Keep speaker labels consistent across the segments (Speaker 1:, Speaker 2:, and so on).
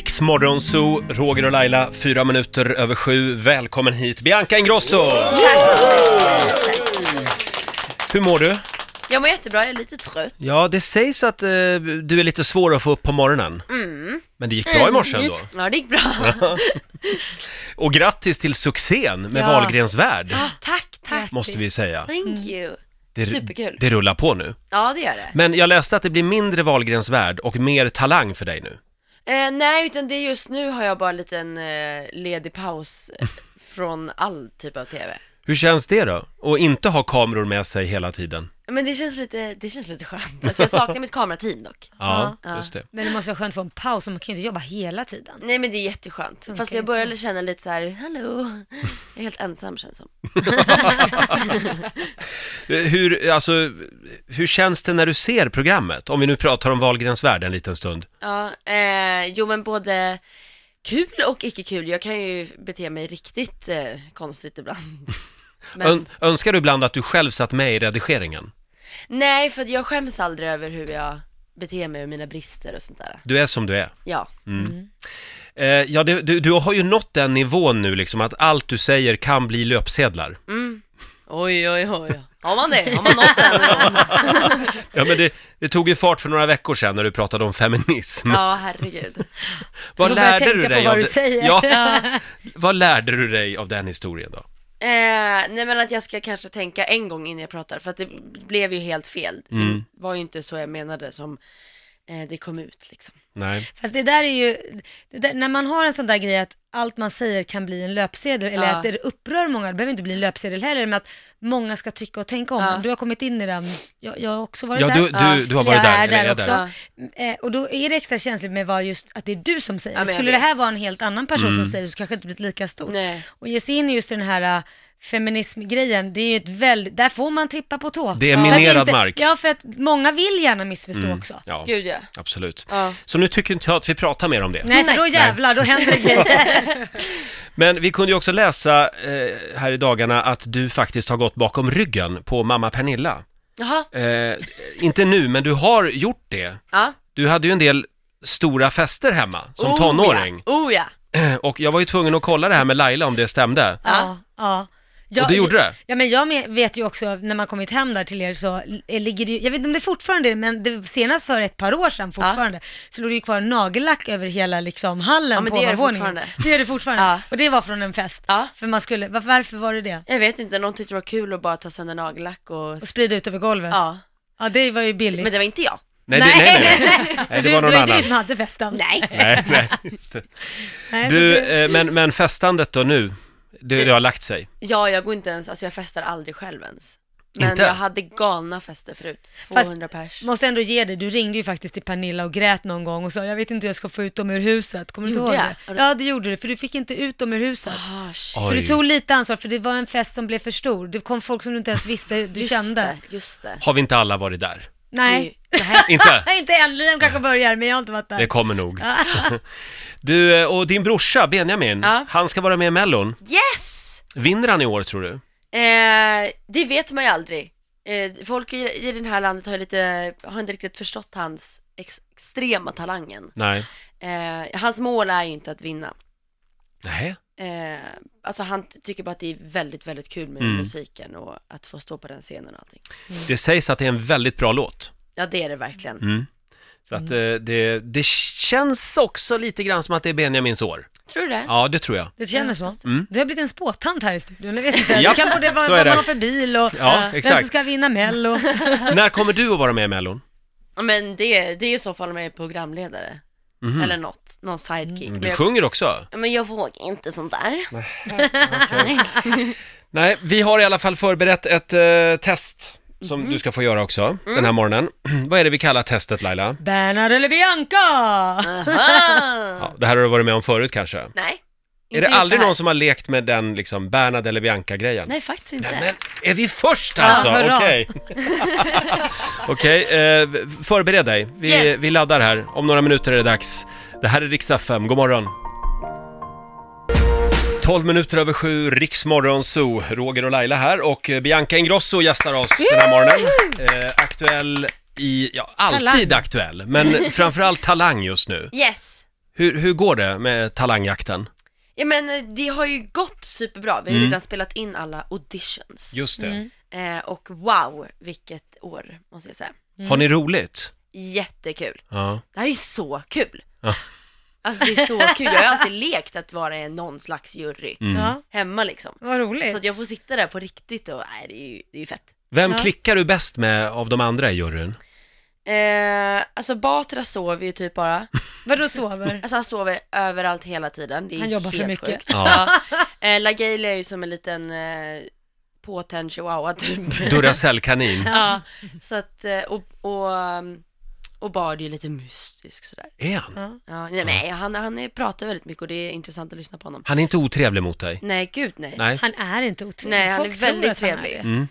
Speaker 1: Riksmorgonzoo, Roger och Laila, fyra minuter över sju. Välkommen hit, Bianca Ingrosso! Hur mår du?
Speaker 2: Jag mår jättebra, jag är lite trött.
Speaker 1: Ja, det sägs att eh, du är lite svår att få upp på morgonen.
Speaker 2: Mm.
Speaker 1: Men det gick bra i morse ändå.
Speaker 2: Ja, det gick bra.
Speaker 1: Och grattis till succén med
Speaker 3: Ja.
Speaker 1: Wahlgrens värld,
Speaker 2: Ja, tack, tack.
Speaker 1: måste vi säga.
Speaker 2: Thank you.
Speaker 1: Det,
Speaker 2: Superkul.
Speaker 1: det rullar på nu.
Speaker 2: Ja, det gör det.
Speaker 1: Men jag läste att det blir mindre Wahlgrens värld och mer talang för dig nu.
Speaker 2: Eh, nej, utan det är just nu har jag bara en liten eh, ledig paus eh, från all typ av TV.
Speaker 1: Hur känns det då? Och inte ha kameror med sig hela tiden?
Speaker 2: Men det känns lite, det känns lite skönt. Alltså, jag saknar mitt kamerateam dock.
Speaker 1: Ja,
Speaker 2: Ja.
Speaker 1: just det.
Speaker 3: Men det måste vara skönt att få en paus, och man kan ju inte jobba hela tiden.
Speaker 2: Nej men det är jätteskönt. Fast
Speaker 3: Funkar
Speaker 2: jag började känna lite så här, hallå, jag är helt ensam känns som.
Speaker 1: Hur, alltså, hur känns det när du ser programmet? Om vi nu pratar om Wahlgrens värld en liten stund.
Speaker 2: Ja, eh, jo men både kul och icke kul. Jag kan ju bete mig riktigt eh, konstigt ibland. Men-
Speaker 1: Ön, önskar du ibland att du själv satt med i redigeringen?
Speaker 2: Nej, för att jag skäms aldrig över hur jag beter mig och mina brister och sånt där.
Speaker 1: Du är som du är.
Speaker 2: Ja.
Speaker 1: Eh, ja, det, du, du har ju nått den nivån nu liksom att allt du säger kan bli löpsedlar.
Speaker 3: Mm.
Speaker 2: Oj, oj, oj. Har man det? Har man nått den nivån?
Speaker 1: Ja, men det, det tog ju fart för några veckor sedan när du pratade om feminism.
Speaker 2: Ja, herregud.
Speaker 1: Vad
Speaker 3: får börja
Speaker 1: lärde du
Speaker 3: tänka på
Speaker 1: dig
Speaker 3: vad
Speaker 1: av
Speaker 3: du
Speaker 1: det-
Speaker 3: säger.
Speaker 1: Ja, vad lärde du dig av den historien då?
Speaker 2: Eh, nej, men att jag ska kanske tänka en gång innan jag pratar, för att det blev ju helt fel. Det
Speaker 1: Mm.
Speaker 2: var ju inte så jag menade som eh, det kom ut liksom.
Speaker 1: Nej.
Speaker 3: Fast det där är ju, det där, när man har en sån där grej att allt man säger kan bli en löpsedel, eller
Speaker 2: Ja.
Speaker 3: att det upprör många, det behöver inte bli en löpsedel heller, men att många ska tycka och tänka om.
Speaker 2: Ja.
Speaker 3: Du har kommit in i den, jag, jag har också varit
Speaker 1: Ja,
Speaker 3: där.
Speaker 1: du, du, du har varit
Speaker 3: jag
Speaker 1: där,
Speaker 3: är
Speaker 1: eller
Speaker 3: där
Speaker 1: är
Speaker 3: också.
Speaker 1: där.
Speaker 3: Eh, och då är det extra känsligt med vad just att det är du som säger.
Speaker 2: Ja, men jag
Speaker 3: Skulle det här
Speaker 2: vet.
Speaker 3: vara en helt annan person
Speaker 1: Mm.
Speaker 3: som säger det så kanske det inte blivit lika stort.
Speaker 2: Nej.
Speaker 3: Och ge sig in i just den här eh, feminismgrejen, det är ju ett väldigt, där får man trippa på tå.
Speaker 1: Det är
Speaker 3: För att
Speaker 1: minerad
Speaker 3: inte,
Speaker 1: mark. Mm.
Speaker 3: Ja, för att många vill gärna missförstå också.
Speaker 1: Ja,
Speaker 2: Gud ja.
Speaker 1: absolut.
Speaker 2: Ja.
Speaker 1: Så nu tycker inte jag att vi pratar mer om det.
Speaker 3: Nej, för då jävlar, då händer det grejer.
Speaker 1: Men vi kunde ju också läsa eh, här i dagarna att du faktiskt har gått bakom ryggen på mamma Pernilla.
Speaker 2: Jaha,
Speaker 1: Eh, inte nu, men du har gjort det.
Speaker 2: ja.
Speaker 1: Du hade ju en del stora fester hemma som
Speaker 2: Oh,
Speaker 1: tonåring. Eh,
Speaker 2: Ja. Oh ja.
Speaker 1: Och jag var ju tvungen att kolla det här med Laila om det stämde.
Speaker 3: ja, ja. Jag,
Speaker 1: Och det gjorde det?
Speaker 3: Ja, men jag med- vet ju också när man kommit hem där till er så l- ligger det ju, jag vet inte om det fortfarande är men det, senast för ett par år sedan fortfarande, så låg det ju kvar nagellack över hela liksom hallen
Speaker 2: Ja, men
Speaker 3: på
Speaker 2: det gör det
Speaker 3: ovanvåningen.
Speaker 2: fortfarande.
Speaker 3: Det gör det fortfarande.
Speaker 2: Ja.
Speaker 3: Och det var från en fest.
Speaker 2: Ja.
Speaker 3: För man skulle, varför, varför var det det?
Speaker 2: Jag vet inte, någon tyckte det var kul att bara ta sönder nagellack och...
Speaker 3: Och sprida ut över golvet. Ja,
Speaker 2: Ja.
Speaker 3: det var ju billigt.
Speaker 2: Men det var inte jag.
Speaker 1: Nej, det, nej, nej.
Speaker 3: För
Speaker 1: nej det var
Speaker 3: du,
Speaker 1: någon
Speaker 3: det var inte
Speaker 1: annan.
Speaker 3: du som hade festen.
Speaker 2: Nej.
Speaker 1: Nej, nej, just det.
Speaker 3: Nej, så
Speaker 1: Du,
Speaker 3: det-
Speaker 1: eh, men, men festandet då nu, det, det har lagt sig.
Speaker 2: Ja, jag går inte ens, alltså jag festar aldrig själv ens. Men
Speaker 1: Inte?
Speaker 2: jag hade galna fester förut. 200 pers.
Speaker 1: eh,
Speaker 3: Måste ändå ge dig, du ringde ju faktiskt till Pernilla och grät någon gång och sa jag vet inte hur jag ska få ut dem ur huset. Kommer du inte ihåg
Speaker 2: Gjorde
Speaker 3: det?
Speaker 2: jag?
Speaker 3: Ja det gjorde du, för du fick inte ut dem ur huset.
Speaker 2: Ah, shit.
Speaker 3: Så
Speaker 1: Oj.
Speaker 3: du tog lite ansvar för det var en fest som blev för stor. Det kom folk som du inte ens visste du
Speaker 2: Just
Speaker 3: kände.
Speaker 2: det, Just det.
Speaker 1: Har vi inte alla varit där?
Speaker 3: Nej.
Speaker 1: Inte?
Speaker 3: Nej inte än, Liam kanske börjar men jag har inte varit där.
Speaker 1: Det kommer nog. Du, eh, och din brorsa Benjamin,
Speaker 2: Ja.
Speaker 1: han ska vara med i Mellon.
Speaker 2: Yes!
Speaker 1: Vinner han i år tror du?
Speaker 2: Eh, det vet man ju aldrig. Eh, folk i, i det här landet har ju lite, har inte riktigt förstått hans ex, extrema talangen.
Speaker 1: Nej.
Speaker 2: Eh, hans mål är ju inte att vinna.
Speaker 1: Nej.
Speaker 2: Eh, alltså han t- tycker bara att det är väldigt, väldigt kul med
Speaker 1: Mm.
Speaker 2: musiken och att få stå på den scenen och allting.
Speaker 1: Det sägs att det är en väldigt bra låt.
Speaker 2: Ja, det är det verkligen.
Speaker 1: Mm. Så att eh, det, det känns också lite grann som att det är Benjamins år.
Speaker 2: Tror du det?
Speaker 1: Ja, det tror jag.
Speaker 3: Du känner så?
Speaker 1: Mm.
Speaker 3: Du har blivit en spåtant här i studion, jag vet inte.
Speaker 1: Ja,
Speaker 3: du kan både vad,
Speaker 1: så är
Speaker 3: vad
Speaker 1: det.
Speaker 3: man har för bil och
Speaker 1: Ja,
Speaker 3: eh, vem
Speaker 1: exakt.
Speaker 3: som ska vinna mello.
Speaker 1: När kommer du att vara med i Mellon?
Speaker 2: Ja, Men det, det är i så fall om jag är programledare. Eller något, någon sidekick.
Speaker 1: Mhm.
Speaker 2: Men,
Speaker 1: Mm, Du
Speaker 2: jag,
Speaker 1: sjunger också.
Speaker 2: men jag vågar inte sånt där.
Speaker 1: Nej, vi har i alla fall förberett ett eh, test som
Speaker 2: Mhm.
Speaker 1: du ska få göra också den
Speaker 2: Mm.
Speaker 1: här morgonen. Vad är det vi kallar testet Laila?
Speaker 3: Bernhard eller Bianca?
Speaker 2: Aha.
Speaker 1: Ja, det här har du varit med om förut kanske.
Speaker 2: Nej.
Speaker 1: är
Speaker 2: inte
Speaker 1: det
Speaker 2: just
Speaker 1: aldrig
Speaker 2: här.
Speaker 1: någon som har lekt med den liksom Bernhard eller Bianca-grejen?
Speaker 2: Nej, faktiskt inte.
Speaker 1: Men är vi först alltså?
Speaker 3: hurra.
Speaker 1: Okej, Okej, eh, förbered dig. Vi,
Speaker 2: Yes.
Speaker 1: vi laddar här. Om några minuter är det dags. Det här är Riksdag 5, god morgon. 12 minuter över sju, Riksmorgon Zoo. Roger och Laila här och eh, Bianca Ingrosso gästar oss den här morgonen. Eh, aktuell i, ja, alltid
Speaker 3: Talang.
Speaker 1: aktuell, men framförallt talang just nu.
Speaker 2: Yes.
Speaker 1: Hur, hur går det med talangjakten?
Speaker 2: Ja men eh, det har ju gått superbra, vi har ju redan spelat in alla auditions.
Speaker 1: Mm. Just det.
Speaker 3: Mm,
Speaker 2: Eh, och wow, vilket år måste jag säga.
Speaker 3: mm.
Speaker 1: Har ni roligt?
Speaker 2: Jättekul.
Speaker 1: Ja.
Speaker 2: Det här är så kul.
Speaker 1: Ja.
Speaker 2: Alltså det är så kul, jag har ju alltid lekt att vara någon slags jury
Speaker 1: Mm.
Speaker 3: Ja,
Speaker 2: hemma liksom.
Speaker 3: vad roligt.
Speaker 2: Så att jag får sitta där på riktigt och nej, det är ju, det är ju fett.
Speaker 1: Vem
Speaker 3: Ja.
Speaker 1: klickar du bäst med av de andra i juryn?
Speaker 2: Eh, alltså Batra sover ju typ bara.
Speaker 3: Vadå sover?
Speaker 2: Alltså han sover överallt hela tiden. Det är
Speaker 3: Han jobbar för
Speaker 2: helt
Speaker 3: mycket.
Speaker 2: Sjukt.
Speaker 1: Ja.
Speaker 2: Eh, Lagelia är ju som en liten eh, påtänd chihuahua typ.
Speaker 1: Duracellkanin.
Speaker 2: ja, så att, eh, och, och, um, och Bard är ju lite mystisk sådär.
Speaker 1: Är han?
Speaker 2: Ja, nej, men han, han pratar väldigt mycket och det är intressant att lyssna på honom.
Speaker 1: Han är inte otrevlig mot dig?
Speaker 2: Nej, gud nej.
Speaker 1: Nej.
Speaker 3: Han är inte otrevlig.
Speaker 2: Nej, han
Speaker 3: Folk
Speaker 2: är
Speaker 3: tror
Speaker 2: väldigt
Speaker 3: att han är
Speaker 2: trevlig.
Speaker 3: det.
Speaker 1: Mm.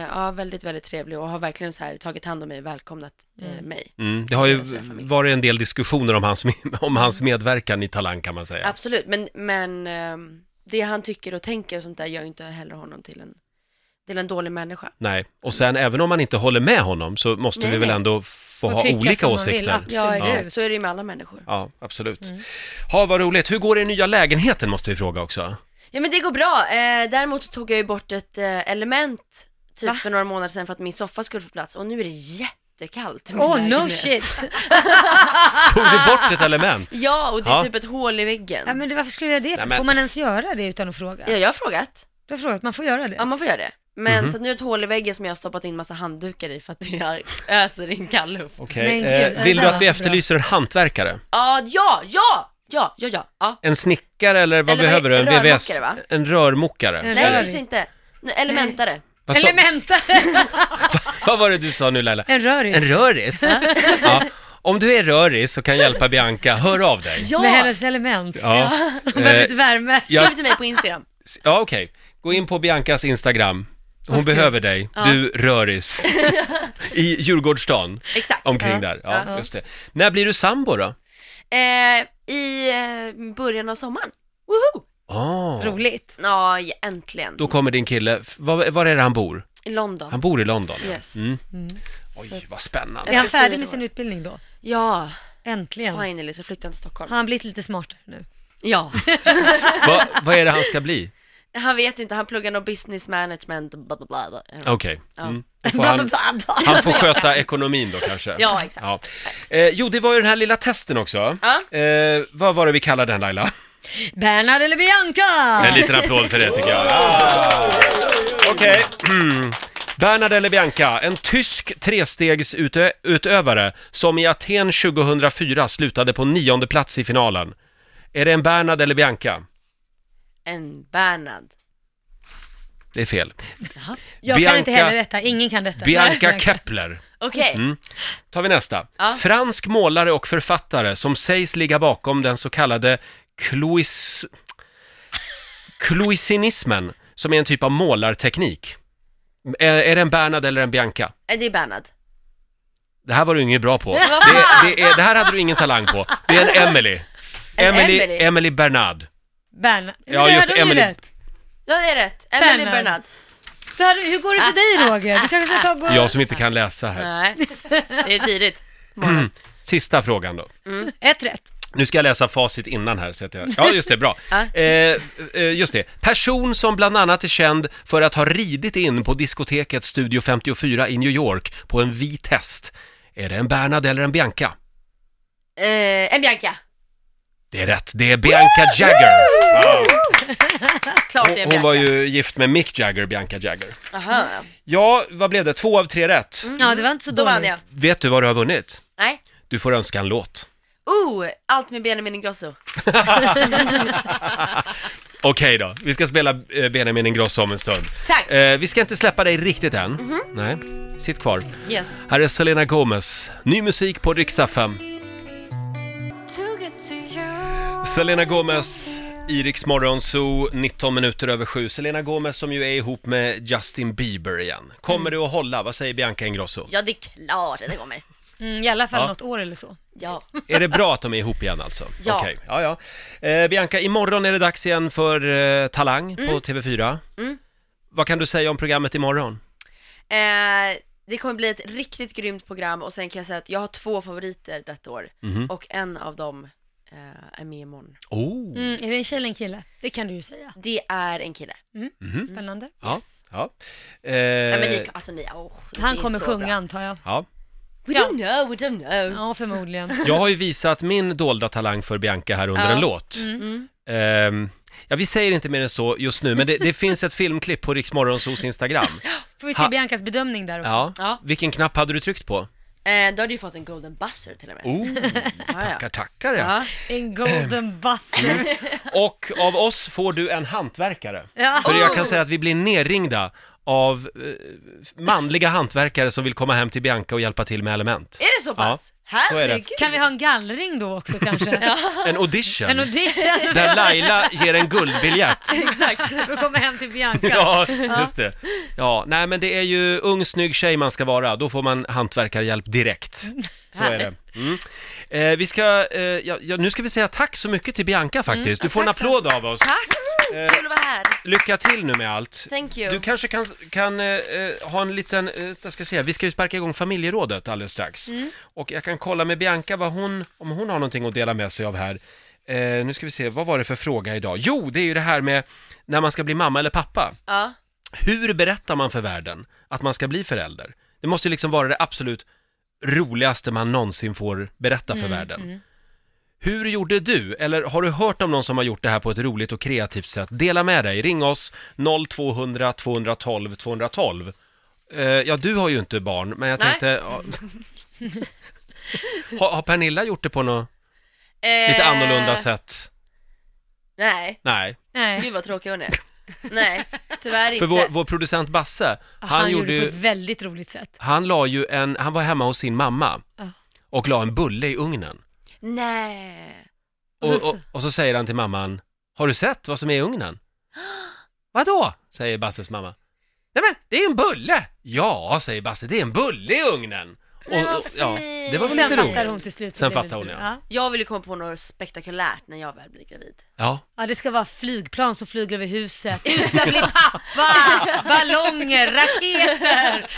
Speaker 2: Eh, ja, väldigt, väldigt trevlig och har verkligen så här tagit hand om mig och välkomnat eh, mig.
Speaker 1: Mm. Det har ju
Speaker 2: Jag tror jag får med.
Speaker 1: varit en del diskussioner om hans, om hans medverkan i Talang kan man säga.
Speaker 2: Absolut, men, men ehm, det han tycker och tänker och sånt där gör ju inte heller honom till en, till en dålig människa.
Speaker 1: Nej, och sen även om man inte håller med honom så måste
Speaker 2: Nej,
Speaker 1: vi väl
Speaker 2: nej.
Speaker 1: ändå få
Speaker 3: Och
Speaker 1: ha
Speaker 3: tycka
Speaker 1: olika
Speaker 3: som man
Speaker 1: åsikter.
Speaker 3: vill,
Speaker 2: Ja,
Speaker 3: Absolut. Mm.
Speaker 2: exakt. Så är det ju med alla människor.
Speaker 1: Ja, absolut. Ha, vad roligt. Hur går det i nya lägenheten måste vi fråga också.
Speaker 2: Ja, men det går bra. Eh, däremot tog jag ju bort ett eh, element typ för några månader sedan för att min soffa skulle få plats och nu är det jättekallt. i min
Speaker 3: Oh no
Speaker 2: lägenhet.
Speaker 3: shit!
Speaker 1: Tog du bort ett element?
Speaker 2: Ja, och det är
Speaker 1: Ja.
Speaker 2: typ ett hål i väggen.
Speaker 3: Ja, men det- varför skulle jag göra det?
Speaker 1: Nej, men-
Speaker 3: Får man ens göra det utan att fråga?
Speaker 2: Ja, jag har frågat.
Speaker 3: Du har frågat, man får göra
Speaker 2: Ja,
Speaker 3: det.
Speaker 2: man får göra det. Men så att nu är det ett hål i väggen som jag har stoppat in massa handdukar i för att jag öser in kall luft.
Speaker 1: Okej.
Speaker 3: Men gud,
Speaker 1: Eh, vill
Speaker 3: det
Speaker 1: du
Speaker 3: där
Speaker 1: att vi
Speaker 3: var
Speaker 1: efterlyser en hantverkare?
Speaker 2: Ja, ja, ja, ja, ja, ja. ja.
Speaker 1: En snickare eller vad
Speaker 2: Eller vad
Speaker 1: behöver du? En
Speaker 2: he-
Speaker 1: VVS?
Speaker 2: rörmokare, va?
Speaker 1: En rörmokare?
Speaker 3: En
Speaker 2: Nej,
Speaker 1: Eller-
Speaker 3: röris.
Speaker 2: kanske inte. Nej, Elementare.
Speaker 1: Vad, sa,
Speaker 3: Elementare!
Speaker 1: vad var det du sa nu Laila?
Speaker 3: En röris.
Speaker 1: En röris? ja. Om du är röris och kan hjälpa Bianca, hör av dig.
Speaker 2: Ja,
Speaker 3: Med hennes element.
Speaker 1: Ja,
Speaker 3: Hon behöver
Speaker 1: Eh,
Speaker 3: lite värme.
Speaker 1: ja,
Speaker 2: skriv till mig på Instagram.
Speaker 1: s- ja okej. Gå in på Biancas Instagram. Hon
Speaker 3: Och skriv.
Speaker 1: behöver dig, du röris. I Djurgårdsstaden,
Speaker 2: Exakt.
Speaker 1: omkring
Speaker 3: Ja.
Speaker 1: där. Ja, just det. När blir du sambo då?
Speaker 2: Eh, I eh, början av sommaren. Woho!
Speaker 1: Ah,
Speaker 3: Roligt.
Speaker 2: Ja, ja, äntligen.
Speaker 1: då kommer din kille, F- var, var är det han bor?
Speaker 2: I London.
Speaker 1: Han bor i London? ja.
Speaker 2: Yes.
Speaker 1: Mm. Oj, vad spännande.
Speaker 3: Är han färdig
Speaker 2: fyra
Speaker 3: med sin
Speaker 2: år.
Speaker 3: utbildning då?
Speaker 2: Ja,
Speaker 3: Äntligen. Har
Speaker 2: finally så flyttade han till Stockholm.
Speaker 3: han blivit lite smartare nu?
Speaker 2: Ja.
Speaker 1: Va, vad är det han ska bli?
Speaker 2: Han vet inte, han pluggar något business management, bla bla bla. bla.
Speaker 1: Okej. Mm. Då får
Speaker 3: Bla, bla,
Speaker 1: han,
Speaker 3: bla, bla.
Speaker 1: han får sköta ekonomin då kanske?
Speaker 2: Ja, exakt.
Speaker 1: Ja. Eh, jo, det var ju den här lilla testen också.
Speaker 2: Ja.
Speaker 1: Eh, vad var det vi kallade den Laila?
Speaker 3: Bernhard eller Bianca?
Speaker 1: En liten applåd för det tycker jag. Okej. Mm. Bernhard eller Bianca, en tysk trestegsutövare som i Aten 2004 slutade på nionde plats i finalen. Är det en Bernhard eller Bianca?
Speaker 2: En Bernhard.
Speaker 1: Det är fel.
Speaker 3: Jag kan inte
Speaker 1: Bianca-
Speaker 3: heller detta, ingen kan detta.
Speaker 1: Bianca Kepler.
Speaker 2: Okej,
Speaker 1: Mm. tar vi nästa.
Speaker 2: Ja.
Speaker 1: Fransk målare och författare som sägs ligga bakom den så kallade clois... cloisinismen, som är en typ av målarteknik. Är, är det en Bernhard eller en Bianca?
Speaker 2: eh, det är Bernhard.
Speaker 1: Det här var du inget bra på. Det, det, är, det här hade du ingen talang på. Det är en Emily.
Speaker 2: En
Speaker 1: Emily,
Speaker 2: Emily?
Speaker 1: Emily Bernard.
Speaker 3: Bernhard. Men
Speaker 1: Ja,
Speaker 3: det
Speaker 1: just
Speaker 3: hade hon ju
Speaker 1: Emily.
Speaker 3: rätt.
Speaker 2: Ja, det är rätt. Emily
Speaker 3: Bernhard.
Speaker 2: Bernhard.
Speaker 3: Det här, hur går det för dig Roger? Du kanske ska ta och gå...
Speaker 1: Jag som inte kan läsa här.
Speaker 2: Nej, det är tidigt.
Speaker 1: Sista frågan då.
Speaker 3: Ett rätt.
Speaker 1: Nu ska jag läsa facit innan här så att jag... Ja, just det, bra. Eh, eh, just det. Person som bland annat är känd för att ha ridit in på diskoteket Studio 54 i New York på en vit häst. Är det en Bernhard eller en Bianca?
Speaker 2: Eh, en Bianca.
Speaker 1: Det är rätt, det är Bianca Jagger.
Speaker 2: Klart det är en
Speaker 1: Hon
Speaker 2: Bianca.
Speaker 1: var ju gift med Mick Jagger, Bianca Jagger.
Speaker 2: Aha.
Speaker 1: Ja, vad blev det? Två av tre rätt.
Speaker 2: Mm.
Speaker 3: Ja, det var inte så
Speaker 2: Då
Speaker 3: dåligt.
Speaker 2: vann jag.
Speaker 1: Vet du vad du har vunnit?
Speaker 2: Nej.
Speaker 1: Du får önska en låt.
Speaker 2: Oh, allt med Benjamin Ingrosso.
Speaker 1: Okej då, vi ska spela eh, Benjamin Ingrosso om en stund.
Speaker 2: Tack. Mhm.
Speaker 1: Eh, vi ska inte släppa dig riktigt än. Nej, sitt kvar.
Speaker 2: Yes.
Speaker 1: Här är Selena Gomez, ny musik på riksdag 5. Selena Gomez, Iriks morgonzoo, 19 minuter över 7. Selena Gomez som ju är ihop med Justin Bieber igen. Kommer du att hålla? Vad säger Bianca Ingrosso?
Speaker 2: Ja, det är klart att det kommer.
Speaker 3: Mm, I alla fall
Speaker 1: Ja.
Speaker 3: något år eller så.
Speaker 2: Ja.
Speaker 1: Är det bra att de är ihop igen alltså?
Speaker 2: Ja.
Speaker 1: Okej, ja, ja. Eh, Bianca, imorgon är det dags igen för eh, Talang på
Speaker 2: Mm.
Speaker 1: TV4. Vad kan du säga om programmet imorgon?
Speaker 2: Eh, det kommer bli ett
Speaker 1: Mhm.
Speaker 2: riktigt grymt program och sen kan jag säga att jag har två favoriter detta år och en av dem eh, är med imorgon.
Speaker 1: Oh.
Speaker 3: Mm, är det en tjej eller en kille? Det kan du ju säga.
Speaker 2: Det är en kille.
Speaker 3: Spännande.
Speaker 1: Mm. Ja, ja. Eh,
Speaker 2: Nej men ni, alltså ni, åh,
Speaker 3: Han
Speaker 2: det är
Speaker 3: kommer
Speaker 2: så
Speaker 3: sjunga
Speaker 2: bra.
Speaker 3: antar jag.
Speaker 1: ja.
Speaker 2: We don't know, we don't know.
Speaker 3: Ja, förmodligen.
Speaker 1: Jag har ju visat min dolda talang för Bianca här under
Speaker 3: Ja.
Speaker 1: en låt.
Speaker 2: Mm.
Speaker 1: Ehm, ja, vi säger inte mer än så just nu, men det, det finns ett filmklipp på Riksmorgonsos Instagram.
Speaker 3: Får vi se
Speaker 1: Ha-
Speaker 3: Biancas bedömning där också.
Speaker 1: Ja.
Speaker 2: Ja.
Speaker 1: Vilken knapp hade du tryckt på?
Speaker 2: Eh, då hade du fått en golden buzzer till och med.
Speaker 1: Oh,
Speaker 2: ja,
Speaker 1: tackar, tackar ja.
Speaker 2: ja.
Speaker 3: En golden buzzer.
Speaker 1: Och av oss får du en hantverkare.
Speaker 3: Ja.
Speaker 2: Oh!
Speaker 1: För jag kan säga att vi blir nerringda av eh, manliga hantverkare som vill komma hem till Bianca och hjälpa till med element.
Speaker 2: Är det så pass?
Speaker 1: så är det.
Speaker 2: Herregud!
Speaker 3: Kan vi ha en gallring då också kanske?
Speaker 1: En audition,
Speaker 3: En audition.
Speaker 1: där Laila ger en guldbiljett.
Speaker 2: Exakt.
Speaker 3: Då kommer jag hem till Bianca.
Speaker 1: Ja, just det. Ja, nej men det är ju ung snygg tjej man ska vara, då får man hantverkarhjälp direkt. Så är det. Mm. Eh, vi ska, eh, ja, ja, nu ska vi säga tack så mycket till
Speaker 2: Mm.
Speaker 1: Bianca faktiskt. Du får en applåd av oss.
Speaker 2: Tack! Kul att vara här.
Speaker 1: Lycka till nu med allt.
Speaker 2: Thank you.
Speaker 1: Eh. Du kanske kan, kan eh, eh, ha en liten, eh, jag ska säga, vi ska ju sparka igång familjerådet alldeles strax.
Speaker 2: Mm.
Speaker 1: Och jag kan kolla med Bianca vad hon, om hon har någonting att dela med sig av här. Eh, nu ska vi se, vad var det för fråga idag? Jo, det är ju det här med när man ska bli mamma eller pappa.
Speaker 2: Ja.
Speaker 1: Hur berättar man för världen att man ska bli förälder? Det måste ju liksom vara det absolut roligaste man någonsin får berätta för världen. Hur gjorde du, eller har du hört om någon som har gjort det här på ett roligt och kreativt sätt? Dela med dig, ring oss 0200 212 212. Eh, ja, du har ju inte barn, men jag
Speaker 2: Nej.
Speaker 1: tänkte... ja. har, har Pernilla gjort det på något
Speaker 2: Eh,
Speaker 1: lite annorlunda sätt?
Speaker 2: Nej,
Speaker 1: Nej.
Speaker 3: Nej.
Speaker 2: gud vad tråkig hon är. nej, tyvärr
Speaker 1: För
Speaker 2: inte.
Speaker 1: vår, vår producent Basse,
Speaker 3: Han,
Speaker 1: han, gjorde
Speaker 3: det på
Speaker 1: ju...
Speaker 3: ett väldigt roligt sätt.
Speaker 1: Han la ju en, han var hemma hos sin mamma
Speaker 3: Ja.
Speaker 1: och la en bulle i ugnen.
Speaker 2: Nej.
Speaker 1: Och,
Speaker 3: Och
Speaker 1: och,
Speaker 3: så-
Speaker 1: och, så säger han till mamman, har du sett vad som är i ugnen? Vadå? säger Basses mamma. Nej men, det är ju en bulle! Ja, säger Basse, det är en bulle i ugnen!
Speaker 2: Men vad
Speaker 1: ja, det var
Speaker 2: fint.
Speaker 1: väl lite
Speaker 3: Sen fattar hon
Speaker 1: roligt?
Speaker 3: till slut. så
Speaker 1: Sen
Speaker 3: blev det
Speaker 1: fattar hon,
Speaker 3: lite-
Speaker 1: ja.
Speaker 2: Jag vill ju komma på något spektakulärt när jag väl blir gravid.
Speaker 1: Ja,
Speaker 3: Ja, det ska vara flygplan som flyger över huset. Ustabil pappa! Ballonger, raketer!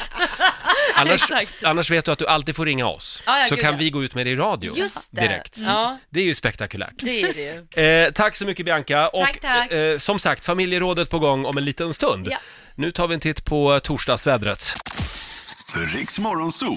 Speaker 1: annars,
Speaker 2: Exakt.
Speaker 1: annars vet du att du alltid får ringa oss.
Speaker 2: Ja, ja,
Speaker 1: så
Speaker 2: gud,
Speaker 1: kan
Speaker 2: ja.
Speaker 1: vi gå ut med det i radio
Speaker 2: Just det.
Speaker 1: direkt.
Speaker 2: Ja,
Speaker 1: Det är ju spektakulärt.
Speaker 2: det är det ju.
Speaker 1: Eh, tack så mycket Bianca och
Speaker 2: Tack, tack.
Speaker 1: Eh, som sagt, familjerådet på gång om en liten stund.
Speaker 3: Ja.
Speaker 1: Nu tar vi en titt på torsdagsvädret.
Speaker 4: Riks Morgonzoo.